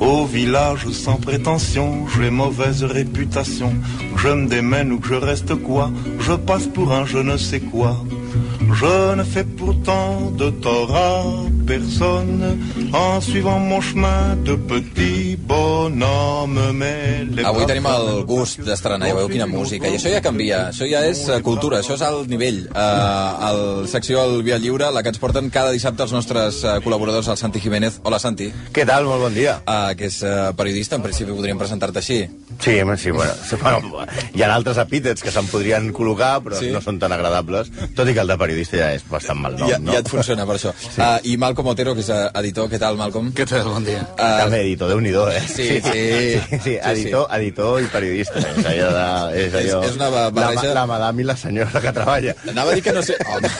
Au village sans prétention, j'ai mauvaise réputation. Je me démène ou que je reste quoi, je passe pour un je ne sais quoi. Je ne fais pourtant de tort à personne en suivant mon chemin de petit bonhomme. Mais les braves Avui tenim el femmes- gust d'estrenar, ja veieu quina música. I això ja canvia, això ja és eh, cultura, això és alt nivell. Uh, el secció al Via Lliure, la que ens porten cada dissabte els nostres eh, col·laboradors, el Santi Jiménez. Hola, Santi, uh, Què tal? Molt bon dia. que és eh, periodista, en principi podríem presentar-te així. Sí, home, sí, bueno, sí, bueno, hi ha altres epítets que se'n podrien col·locar, però Sí. sí. no són tan agradables, tot i que el de periodista ja és bastant mal nom, ja, no? ja et funciona per això. Sí. Uh, I Malcom Otero, que és eh, editor, què tal, Malcom? Què tal? Bon dia. Eh, També editor, déu nhi eh? Sí, sí. sí, sí, editor, editor i periodista. És, allò de, és, allò, És- és una ba- barreja- La, ma- la madame i la senyora que treballa. Anava a dir que no sé... Home,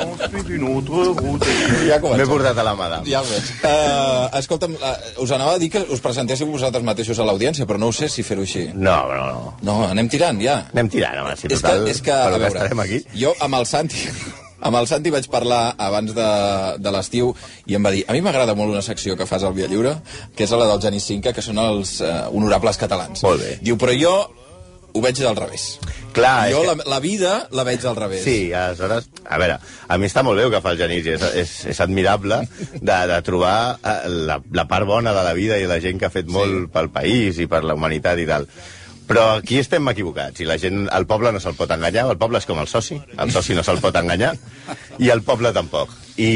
L'on suit une autre route. et- ja M'he comença. portat a la madame. Ja ho veig. Uh, escolta'm, uh, us anava a dir que us presentéssiu vosaltres mateixos a l'audiència, però no ho sé si fer-ho així. No, no, no. No, anem tirant, ja. Anem tirant, home, si és que, total, és que, per a lo que veure, estarem aquí. jo amb el Santi... Amb el Santi vaig parlar abans de, de l'estiu i em va dir, a mi m'agrada molt una secció que fas al Via Lliure, que és la del Genís Cinca, que són els eh, honorables catalans. Molt bé. Diu, però jo ho veig al revés. Clar, és jo la, que- la vida la veig al revés. Sí, aleshores, a veure, a mi està molt bé el que fa el Genís, és, és, és admirable de, de trobar eh, la, la part bona de la vida i la gent que ha fet molt pel país i per la humanitat i tal. Però aquí estem equivocats i la gent, el poble no se'l pot enganyar, el poble és com el soci, el soci no se'l pot enganyar i el poble tampoc. I,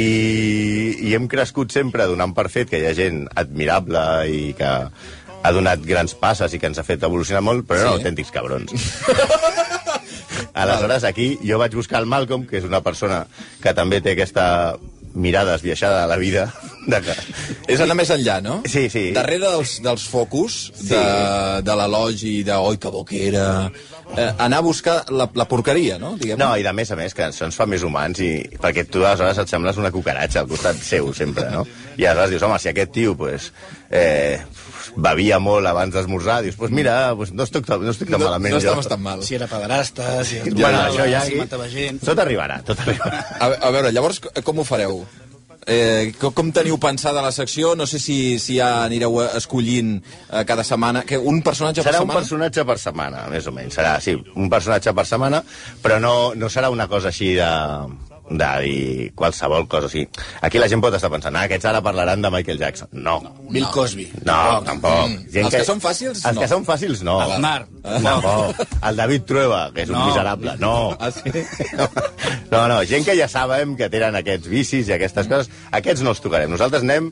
i hem crescut sempre donant per fet que hi ha gent admirable i que ha donat grans passes i que ens ha fet evolucionar molt, però Sí. sí. no autèntics cabrons. Aleshores, aquí jo vaig buscar el Malcolm, que és una persona que també té aquesta mirada esbiaixada a la vida. De que... És anar més enllà, no? Sí, sí. Darrere dels, dels focus, sí. de, de l'elogi, de oi, que boquera... Eh, anar a buscar la, la porqueria, no? Diguem No, i de més a més, que això ens fa més humans, i... perquè tu aleshores et sembles una cucaratxa al costat seu, sempre, no? I aleshores dius, home, si aquest tio, pues, eh, bevia molt abans d'esmorzar, dius, pues mira, pues no estic, tan- no estic tan no, malament. no jo." estaves tan mal. Si era pederasta, si es Bueno, això ja... si matava gent... Tot arribarà, tot arribarà. A, a veure, llavors, co- com ho fareu? Eh, co- com teniu pensada la secció? No sé si, si ja anireu eh, escollint eh, cada setmana... Que un personatge per Serà un setmana? personatge per setmana, més o menys. Serà, sí, un personatge per setmana, però no, no serà una cosa així de de dir qualsevol cosa. O sigui, aquí la gent pot estar pensant, ah, aquests ara parlaran de Michael Jackson. No. Bill Cosby. No, tampoc. Gent Mm. Els que són fàcils, Els no. que són fàcils, no. Aznar. Tampoc. El David Trueba, que és un No. miserable. No. Ah, sí? No, no, gent que ja sabem que tenen aquests vicis i aquestes coses, aquests no els tocarem. Nosaltres anem,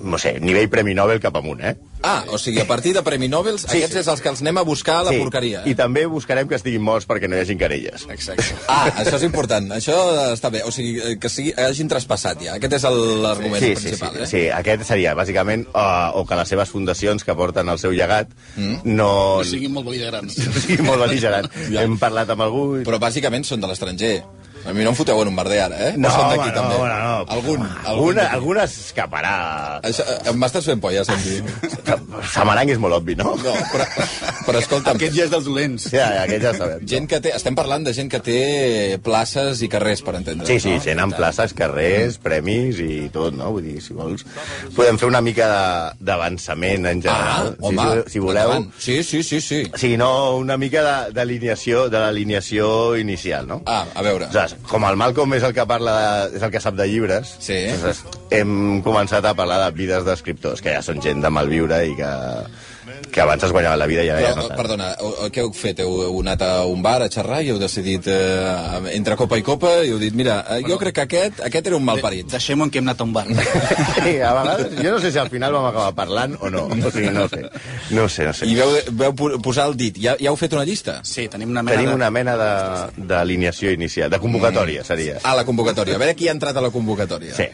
no sé, nivell Premi Nobel cap amunt, eh? Ah, o sigui, a partir de Premi Nobel, sí, aquests sí. és els que els anem a buscar a la porqueria. eh? I també buscarem que estiguin morts perquè no hi hagin querelles. Exacte. Ah, això és important. Això està bé. O sigui, eh, que sigui, hagin traspassat ja. Aquest és el- l'argument Sí, sí, sí, principal, eh? sí, aquest seria, bàsicament, uh, o que les seves fundacions que porten el seu llegat mm. no... No siguin molt boligerants. siguin molt beligerant. Ja. Hem parlat amb algú... i- Però bàsicament són de l'estranger. A mi no em foteu en un barder ara, eh? No, o són home, d'aquí no, també. no, no. Algun, algun alguna, d'aquí. alguna s'escaparà. Això, eh, M'estàs fent por, ja, Santi. Samarang és molt obvi, no? No, però, però escolta'm... Aquest ja és dels dolents. Ja, ja, aquest ja sabem. Gent que té, estem parlant de gent que té places i carrers, per entendre. Sí, sí, gent en places, carrers, premis i tot, no? Vull dir, si vols... Podem fer una mica de- d'avançament en Ah, general. Si- home, si, si voleu, endavant. Sí, sí, sí, sí. Sí, no, una mica de- d'alineació de l'alineació inicial, no? Ah, a veure. Aleshores, com el Malcolm és el que parla de, és el que sap de llibres, Sí. aleshores, hem començat a parlar de vides d'escriptors, que ja són gent de malviure i que, que abans es guanyaven la vida i ara ja Però, no tant. perdona, o- o què heu fet? Heu, heu anat a un bar a xerrar i heu decidit, eh, entre copa i copa, i heu dit, mira, eh, jo crec que aquest, aquest era un malparit. Deixem-ho en que hem anat a un bar. Sí, a vegades, jo no sé si al final vam acabar parlant o no. O sigui, no sé. No sé, no sé. I veu, veu pu- posar el dit. Ja, ja heu fet una llista? Sí, tenim una mena Tenim de... una mena de- d'alineació inicial, de convocatòria, seria. A la convocatòria. A veure qui ha entrat a la convocatòria. Sí.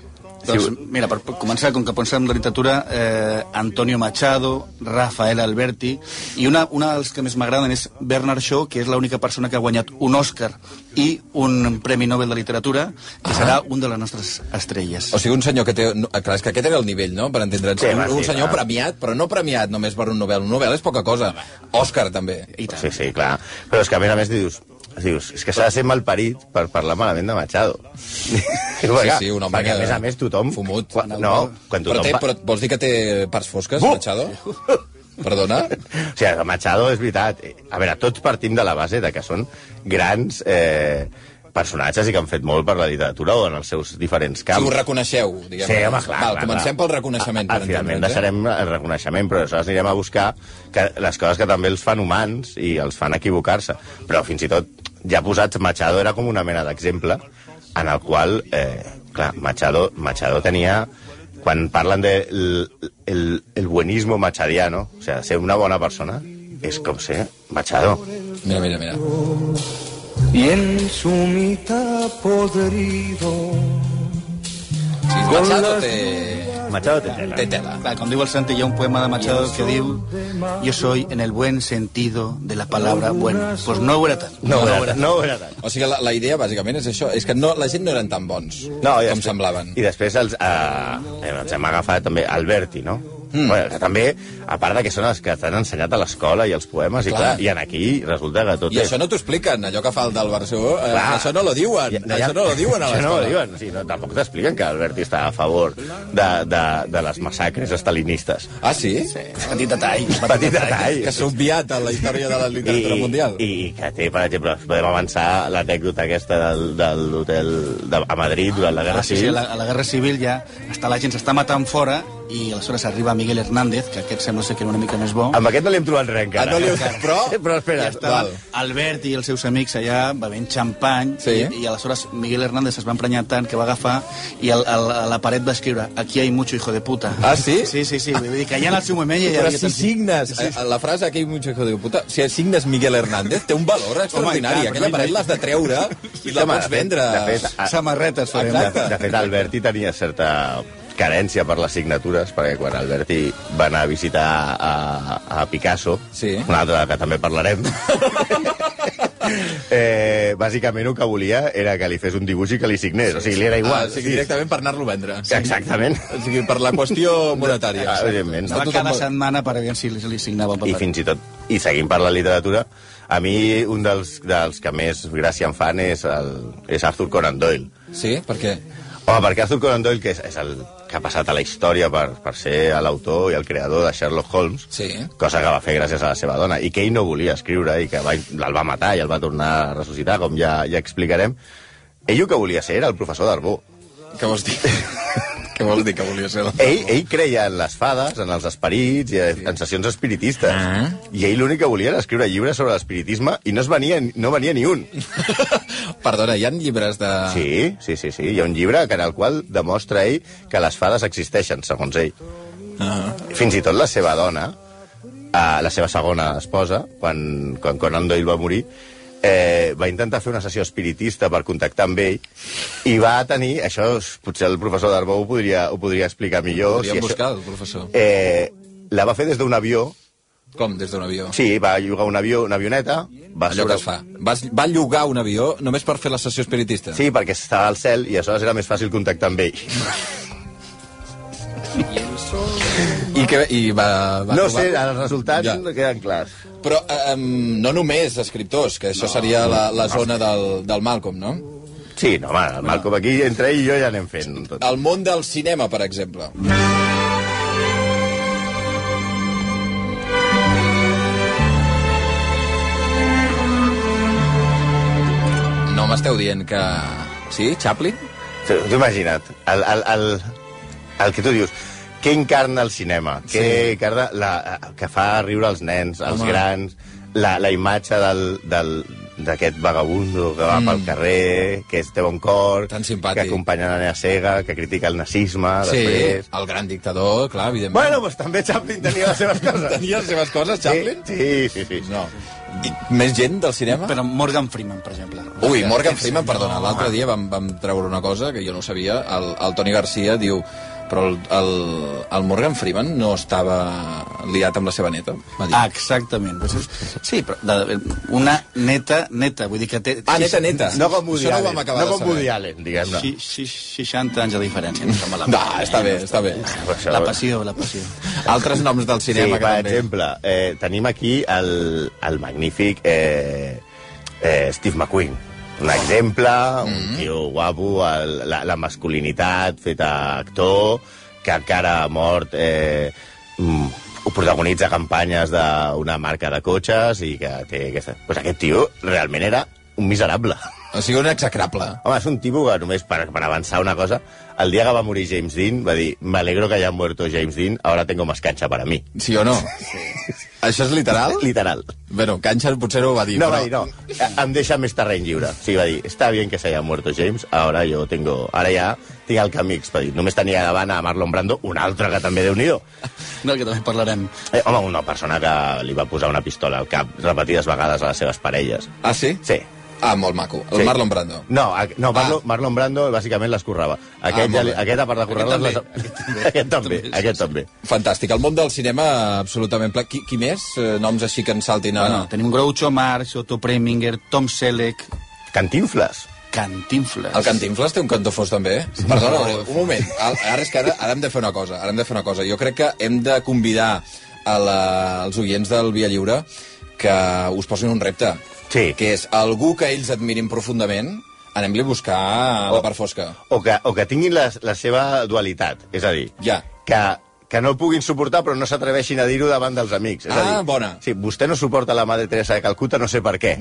Doncs, Si- mira, per començar, com que pensem en la literatura, eh, Antonio Machado, Rafael Alberti, i una, una dels que més m'agraden és Bernard Shaw, que és l'única persona que ha guanyat un Òscar i un Premi Nobel de Literatura, que Ah. serà un de les nostres estrelles. O sigui, un senyor que té... No, eh, clar, és que aquest era el nivell, no?, per entendre'ns. Sí, un, va, sí, un senyor va. premiat, però no premiat només per un novel·la. Un novel·la és poca cosa. Òscar, també. I tant. Sí, sí, clar. Però és que, a més a més, dius... Dius, és que s'ha de ser malparit per parlar malament de Machado. Sí, sí, un home perquè, a que- més a més, tothom... fumut. Quan, no, quan Però, tothom... té, pa- però vols dir que té parts fosques, Bu! Machado? Perdona? O sigui, el Machado és veritat. eh, A veure, tots partim de la base de que són grans eh, personatges i que han fet molt per la literatura o en els seus diferents Si ho camps. reconeixeu, diguem. Sí, home, clar, Val, clar, comencem clar. pel reconeixement. Ah, per entendre'ns, finalment eh? deixarem el reconeixement, però aleshores anirem a buscar que les coses que també els fan humans i els fan equivocar-se. Però fins i tot, ja posats, Machado era com una mena d'exemple en el qual, eh, clar, Machado, Machado tenia quan parlen de el, el, el buenismo machadiano, o sea, ser una bona persona és com ser Machado. Eh? Mira, mira, mira. y en su mitad podrido. Sí, Machado té, Machado té tela. té tela. Clar, com diu Ah, el Santi, hi ha un poema de Machado que diu «Yo soy en el buen sentido de la palabra bueno». Pues no ho era tant. No, no, era, no era tant. O sigui, la, la idea, bàsicament, és això. És que no, la gent no eren tan bons No, i com després- semblaven. I després els, eh, ens hem agafat també Alberti, no? Mm. Bueno, que també, a part de que són els que t'han ensenyat a l'escola i els poemes, i, Clar. clar, i en aquí resulta que tot I és... això no t'ho expliquen, allò que fa el del Barceló. Eh, Clar. això no lo diuen, Ja- ja- això no lo diuen a això no ho l'escola. diuen. Sí, no, tampoc t'expliquen que Alberti està a favor de, de, de les massacres estalinistes. ah, sí? Petit detall. Petit detall. Que s'ha obviat a la història de la literatura I, mundial. I que té, per exemple, podem avançar l'anècdota aquesta del, de l'hotel de- a Madrid durant la Guerra Ah, sí, sí, a Civil. la, a la Guerra Civil ja està, la gent s'està matant fora i aleshores arriba Miguel Hernández, que aquest sembla ser que era una mica més bo. Amb aquest no li hem trobat res encara. Ah, no li heu- però- però espera, Ja estava val. Albert i els seus amics allà bevent xampany Sí. i, i aleshores Miguel Hernández es va emprenyar tant que va agafar i al, al, a la paret va escriure «Aquí hay mucho hijo de puta». Ah, sí? Sí, sí, sí, vull dir que allà en el seu moment ja hi Però havia... si tant- signes, eh, la frase aquell mucho hijo de puta, si signes Miguel Hernández, té un valor extraordinari. clar, Aquella però paret l'has de treure i la Home, pots de fet- vendre. De fet, ah, a- Samarretes farem. De, de fet, Alberti tenia certa carència per les signatures, perquè quan Alberti va anar a visitar a, a Picasso, Sí. un altre que també parlarem, eh, bàsicament el que volia era que li fes un dibuix i que li signés, o sigui, li era igual. Ah, o sigui, sí. directament per anar-lo a vendre. Exactament. O sigui, per la qüestió monetària. Ah, evidentment. Va Tothom cada vol- setmana per veure si li, li signava el I paper. fins i tot, i seguim per la literatura, a mi un dels, dels que més gràcia em fan és, el, és Arthur Conan Doyle. Sí, per què? Home, perquè Arthur Conan Doyle, que és, és el que ha passat a la història per, per ser l'autor i el creador de Sherlock Holmes, Sí. cosa que va fer gràcies a la seva dona, i que ell no volia escriure, i que va, el va matar i el va tornar a ressuscitar, com ja, ja explicarem, ell el que volia ser era el professor d'Arbó. Què vols dir? Què vols dir que volia ser? Ell, ell creia en les fades, en els esperits i en sessions espiritistes. Ah. I ell l'únic que volia era escriure llibres sobre l'espiritisme i no, es venia, no venia ni un. Perdona, hi ha llibres de... Sí, sí, sí, sí. Hi ha un llibre que en el qual demostra ell que les fades existeixen, segons ell. Ah. Fins i tot la seva dona, eh, la seva segona esposa, quan, quan Conan Doyle va morir, eh, va intentar fer una sessió espiritista per contactar amb ell i va tenir, això és- potser el professor d'Arbó ho podria, ho podria explicar millor. Podríem això- buscar el professor. eh, la va fer des d'un avió, Com, des d'un avió? sí, va llogar un avió, una avioneta, va Allò que es fa. Vas, va llogar un avió només per fer la sessió espiritista? Sí, perquè estava al cel i aleshores era més fàcil contactar amb ell. I, que, i va, va no trobar... sé, els resultats Ja. ja. no queden clars. Però um, no només escriptors, que això no, seria la, la zona del, del Malcolm, no? Sí, no, home, el Malcolm aquí, entre ell i jo ja anem fent tot. El món del cinema, per exemple. No m'esteu dient que... Sí, Chaplin? T'ho t'ho imagina't, el, el, el, el que tu dius, què encarna el cinema? Què Sí. encarna la, que fa riure els nens, els Home. grans, la, la imatge del... del d'aquest vagabundo que va mm. pel carrer, que és té bon cor, Tan simpàtic. que acompanya la nena cega, que critica el nazisme, Sí, després... el gran dictador, clar, evidentment. Bueno, pues també Chaplin tenia les seves coses. Tenia les seves coses, Chaplin? Sí, sí, sí. sí. No. I, més gent del cinema? Però Morgan Freeman, per exemple. Ui, Morgan Freeman, perdona, l'altre dia vam, vam treure una cosa que jo no sabia. El, el Toni Garcia diu però el, el, el Morgan Freeman no estava liat amb la seva neta, va dir. Ah, exactament. Pues és- Sí, però de, eh, una neta, neta, vull dir que té... ah neta, neta. No com Woody Això no ho Allen, vam acabar no de com Woody saber. Allen, diguem-ne. Sí, sí, 60 anys de diferència. No, està malament, No, està bé, eh? està bé. Això- La passió, la passió. Altres noms del Sí, cinema per que també... exemple, eh, tenim aquí el, el magnífic eh, eh, Steve McQueen. Un exemple, un tio guapo, el, la, la masculinitat feta actor, que encara ha mort... Eh, mm, protagonitza campanyes d'una marca de cotxes i que té aquesta... Pues aquest tio realment era un miserable. O sigui, un execrable. Home, és un tipus que només per, per avançar una cosa... El dia que va morir James Dean va dir me alegro que haya muerto James Dean, ahora tengo más cancha para mí. Sí o no? Això és literal? Literal. Bueno, Canxar potser no ho va dir, No, va però... dir, no, eh, em deixa més terreny lliure. O sigui, va dir, està bien que se haya muerto James, ahora yo tengo... Ara ja tinc el camí expedit. Només tenia davant a Marlon Brando, un altre que també, déu nhi del que també parlarem. Eh, home, una persona que li va posar una pistola al cap repetides vegades a les seves parelles. Ah, sí? Sí. Ah, molt maco. El Sí. Marlon Brando. No, a, no Marlon, Ah. Marlon Brando bàsicament l'escorrava. Aquest, Ah, ja, molt li- bé. aquest, a part de Aquest currar-les... també, les- aquest també. Aquest també, També, sí, aquest sí. també. Fantàstic. El món del cinema, absolutament pla. Qui, qui més? Eh, Noms així que ens saltin a... Bueno, tenim Groucho Marx, Otto Preminger, Tom Selleck, Cantinfles. Cantinflas. El Cantinflas té un cantó fos, també. Perdona, un moment. Al- Ara és que ara, ara hem de fer una cosa. Ara hem de fer una cosa. Jo crec que hem de convidar a la, als oients del Via Lliure que us posin un repte. Sí. Que és algú que ells admirin profundament, anem-li a buscar Oh. la part fosca. O que, o que tinguin les, la seva dualitat. És a dir, Ja. que, que no ho puguin suportar però no s'atreveixin a dir-ho davant dels amics. És a dir, Ah, bona. Sí, vostè no suporta la Madre Teresa de Calcuta, no sé per què.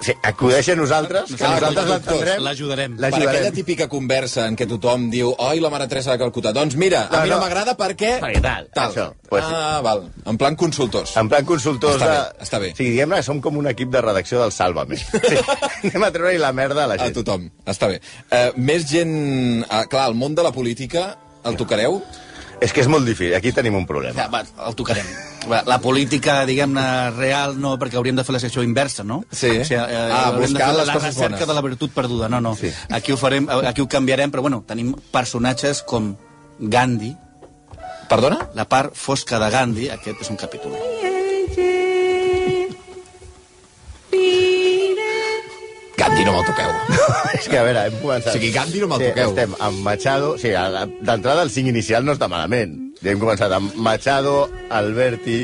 Sí, acudeix a nosaltres, que Clar, nosaltres nosaltres l'entendrem. l'ajudarem. Per aquella L'ajudarem. típica conversa en què tothom diu «Oi, la mare Teresa de Calcuta». Doncs mira, a No, mi no, no. m'agrada perquè... Perquè tal, això. Pues sí. ah, val. En plan consultors. En plan consultors Està de... bé, està bé. O sigui, diguem-ne que som com un equip de redacció del Sálvame. Sí. Anem a treure-hi la merda a la A gent. tothom. Està bé. Eh, més gent... Eh, clar, el món de la política el tocareu? És que és molt difícil. Aquí tenim un Ja, problema. va, el tocarem. Va, la política, diguem-ne, real, no, perquè hauríem de fer la secció inversa, no? Sí. O sigui, eh, Ah, hauríem de buscar fer les la coses recerca bones. de la virtut perduda, no, no. Sí. Aquí, ho farem, aquí ho canviarem, però bueno, tenim personatges com Gandhi, Perdona? la part fosca de Gandhi, aquest és un capítol. Gandhi no me'l toqueu. És que, a veure, hem començat... O sigui, Gandhi no me'l sí, toqueu. Estem amb Machado... Sí, a la- d'entrada el cinc inicial no està malament. Ja hem començat amb Machado, Alberti,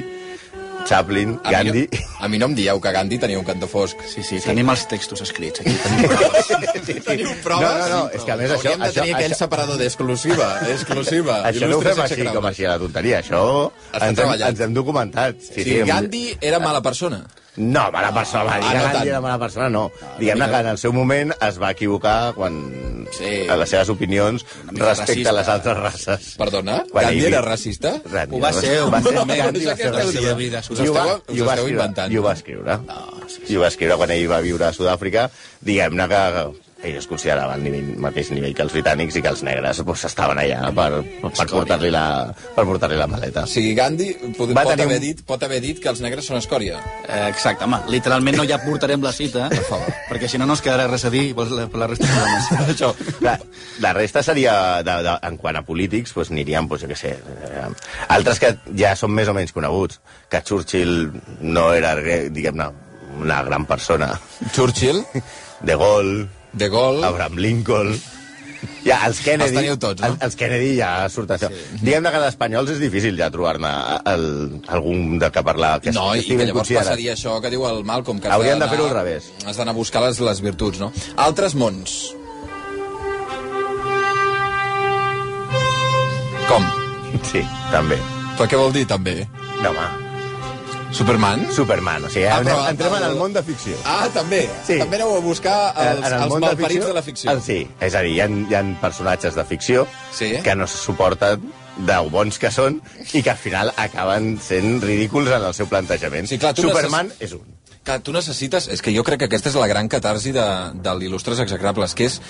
Chaplin, A Gandhi... Mi no, a mi no em dieu que Gandhi tenia un cantó fosc. Sí, sí, tenim els textos escrits aquí. Tenim Teniu proves? No, no, no, és que a més això- Hauríem de tenir això- aquell això- separador d'exclusiva. Exclusiva. Això no ho Ah, Il·lustres fem així execrables. com així a la tonteria, això Està ens hem, treballat. ens hem documentat. O Sí, sí, sigui, hem- Gandhi era mala persona. No, mala persona, va, Ah, dir no que Gandhi tant. Ah, era mala persona, no. Diguem-ne que en el seu moment es va equivocar quan... Sí. a les seves opinions mica respecte a les racista. altres races. Perdona? Quan Gandhi ell- era racista? Gandhi Ho va era ser, racista. ho va ser. Això Gandhi va ser que esteu racista. dient. Us I esteu- us ho va- i ho va esteu escriure- inventant. I ho va escriure. I ho va escriure quan ell va viure a Sud-àfrica. Diguem-ne que ells es consideraven nivell, mateix nivell que els britànics i que els negres doncs, estaven allà per, per portar-li la, per portar la maleta. O sigui, Gandhi pot, Va pot, tenir haver un- dit, pot haver dit que els negres són escòria. Eh, Exacte, home, literalment no ja portarem la cita, per favor. perquè si no no ens quedarà res a dir per la, per la resta de homes. Això. La, la resta seria, de, de, en quant a polítics, pues, aniríem, pues, jo què sé, eh, altres que ja són més o menys coneguts, que Churchill no era, re- diguem-ne, una gran persona. Churchill, De Gaulle, De Gaulle... Abraham Lincoln... Ja, els Kennedy... Els teniu tots, no? els, els Kennedy ja surt això. Sí. Diguem-ne que d'espanyols és difícil ja trobar-ne el- algun de que parlar. Que No, i estigui que llavors considerat. passaria això que diu el Malcolm. Que has Haurien de d'anar- fer-ho al revés. Has d'anar a buscar les, les virtuts, no? Altres mons. Com? Sí, també. Però què vol dir, també? No, home, Superman? Superman, o sigui, Ah, ah, però- entrem en el món de ficció. Ah, també. Sí. També aneu a buscar els, els malparits de, la ficció. Ah, sí, és a dir, hi ha, hi ha personatges de ficció Sí. que no se suporten de bons que són i que al final acaben sent ridículs en el seu plantejament. Sí, clar, tu Superman és un. Que tu necessites... És que jo crec que aquesta és la gran catarsi de, de l'il·lustres execrables, que és...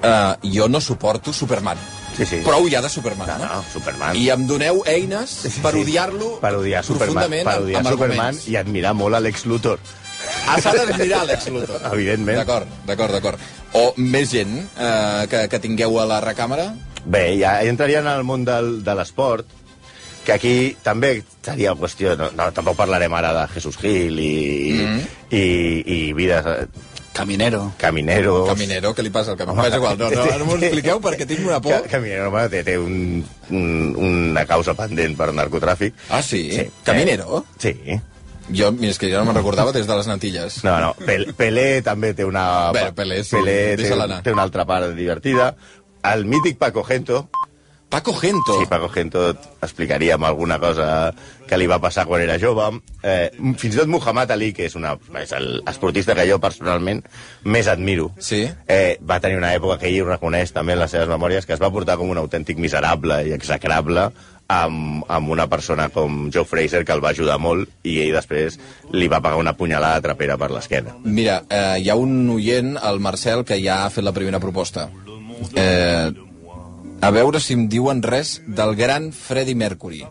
eh, jo no suporto Superman. Sí, sí. Prou ja de Superman, No, no, Superman. I em doneu eines per odiar-lo per odiar Superman, profundament per amb- odiar amb Superman arguments. i admirar molt Alex Luthor. Ah, s'ha d'admirar Lex Luthor. Evidentment. D'acord, d'acord, d'acord. O més gent eh, que, que tingueu a la recàmera. Bé, ja entraria en el món del, de l'esport, que aquí també seria qüestió... No, no, tampoc parlarem ara de Jesús Gil i, mm Mm-hmm. -hmm. i, i vides... eh, Caminero. Caminero... Caminero, què li passa al caminero? És igual, no, no, no m'ho expliqueu perquè tinc una por. Que, que Minero home, té, té un, un, una causa pendent per narcotràfic. Ah, sí? Caminero? Eh, sí. Jo, mira, és que ja no me'n recordava des de les natilles. No, no, Pel- Pelé també té una... Bé, Pelé, sí, Pelé té, deixa-la anar. té una altra part divertida. El mític Paco Gento, Paco Gento. Sí, Paco Gento explicaríem alguna cosa que li va passar quan era jove. Eh, fins i tot Muhammad Ali, que és, una, és el esportista que jo personalment més admiro, Sí. eh, va tenir una època que ell ho reconeix també en les seves memòries, que es va portar com un autèntic miserable i execrable amb, amb una persona com Joe Fraser, que el va ajudar molt, i ell després li va pagar una punyalada trapera per l'esquena. Mira, eh, hi ha un oient, el Marcel, que ja ha fet la primera proposta. Eh, a veure si em diuen res del gran Freddie Mercury.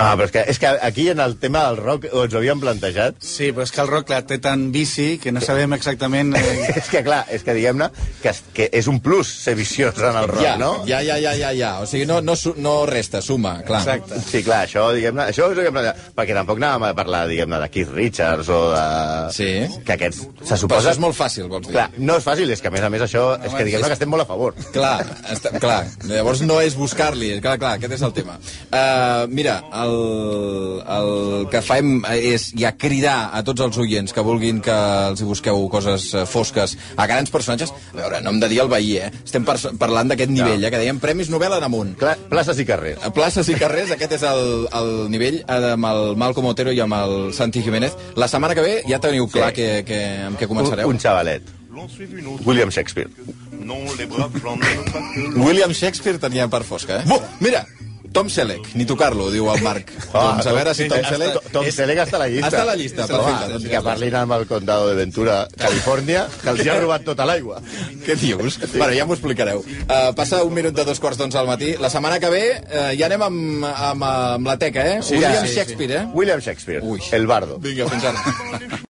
Ah, però és que, és que aquí en el tema del rock ho ens ho havíem plantejat, Sí, però és que el rock clar, té tan vici que no sabem exactament... Eh, és que clar, és que diguem-ne que, es- que és un plus ser viciós en el rock, ja, no? ja, ja, ja, ja, ja. O sigui, no, no, su- no resta, suma, clar. exacte. Sí, clar, això, diguem-ne, això és el que planteja, perquè tampoc anàvem a parlar, diguem-ne, de Keith Richards o de... Sí. Que aquests, se Però suposa... això és molt fàcil, vols dir. Clar, no és fàcil, és que a més a més això, és que diguem-ne que estem molt a favor. Clar, està, clar. Llavors no és buscar-li, clar, clar, aquest és el tema. Uh, mira, el, el que fem és ja cridar a tots els oients que vulguin que els hi busqueu coses eh, fosques a grans personatges. A veure, no hem de dir el veí, eh? Estem per, parlant d'aquest nivell, eh? que dèiem premis novel·la en amunt. Clar, places i carrers. A places i carrers, aquest és el, el nivell eh, amb el Malcom Otero i amb el Santi Jiménez. La setmana que ve ja teniu clar Sí. que, que, amb què Un, començareu. un xavalet. L'on suit une autre. William Shakespeare. Non, les braves gens ne veulent pas que l'on- William Shakespeare tenia part fosca, eh? Buh, mira, Tom Selleck, ni tocar-lo, diu el Marc. Ah, doncs a veure si Tom Selleck... Tom- Tom Selleck està a la llista. Està a la llista, però va, perfecte, doncs ja que està. parlin amb el condado de Ventura, Califòrnia, que els hi ha robat tota l'aigua. Què dius? Bueno, ja m'ho explicareu. Uh, passa un minut de dos quarts d'onze al matí. La setmana que ve uh, ja anem amb, amb, amb la teca, eh? Sí, William sí, Shakespeare, eh? William Shakespeare, Ui. el bardo. Vinga, fins ara.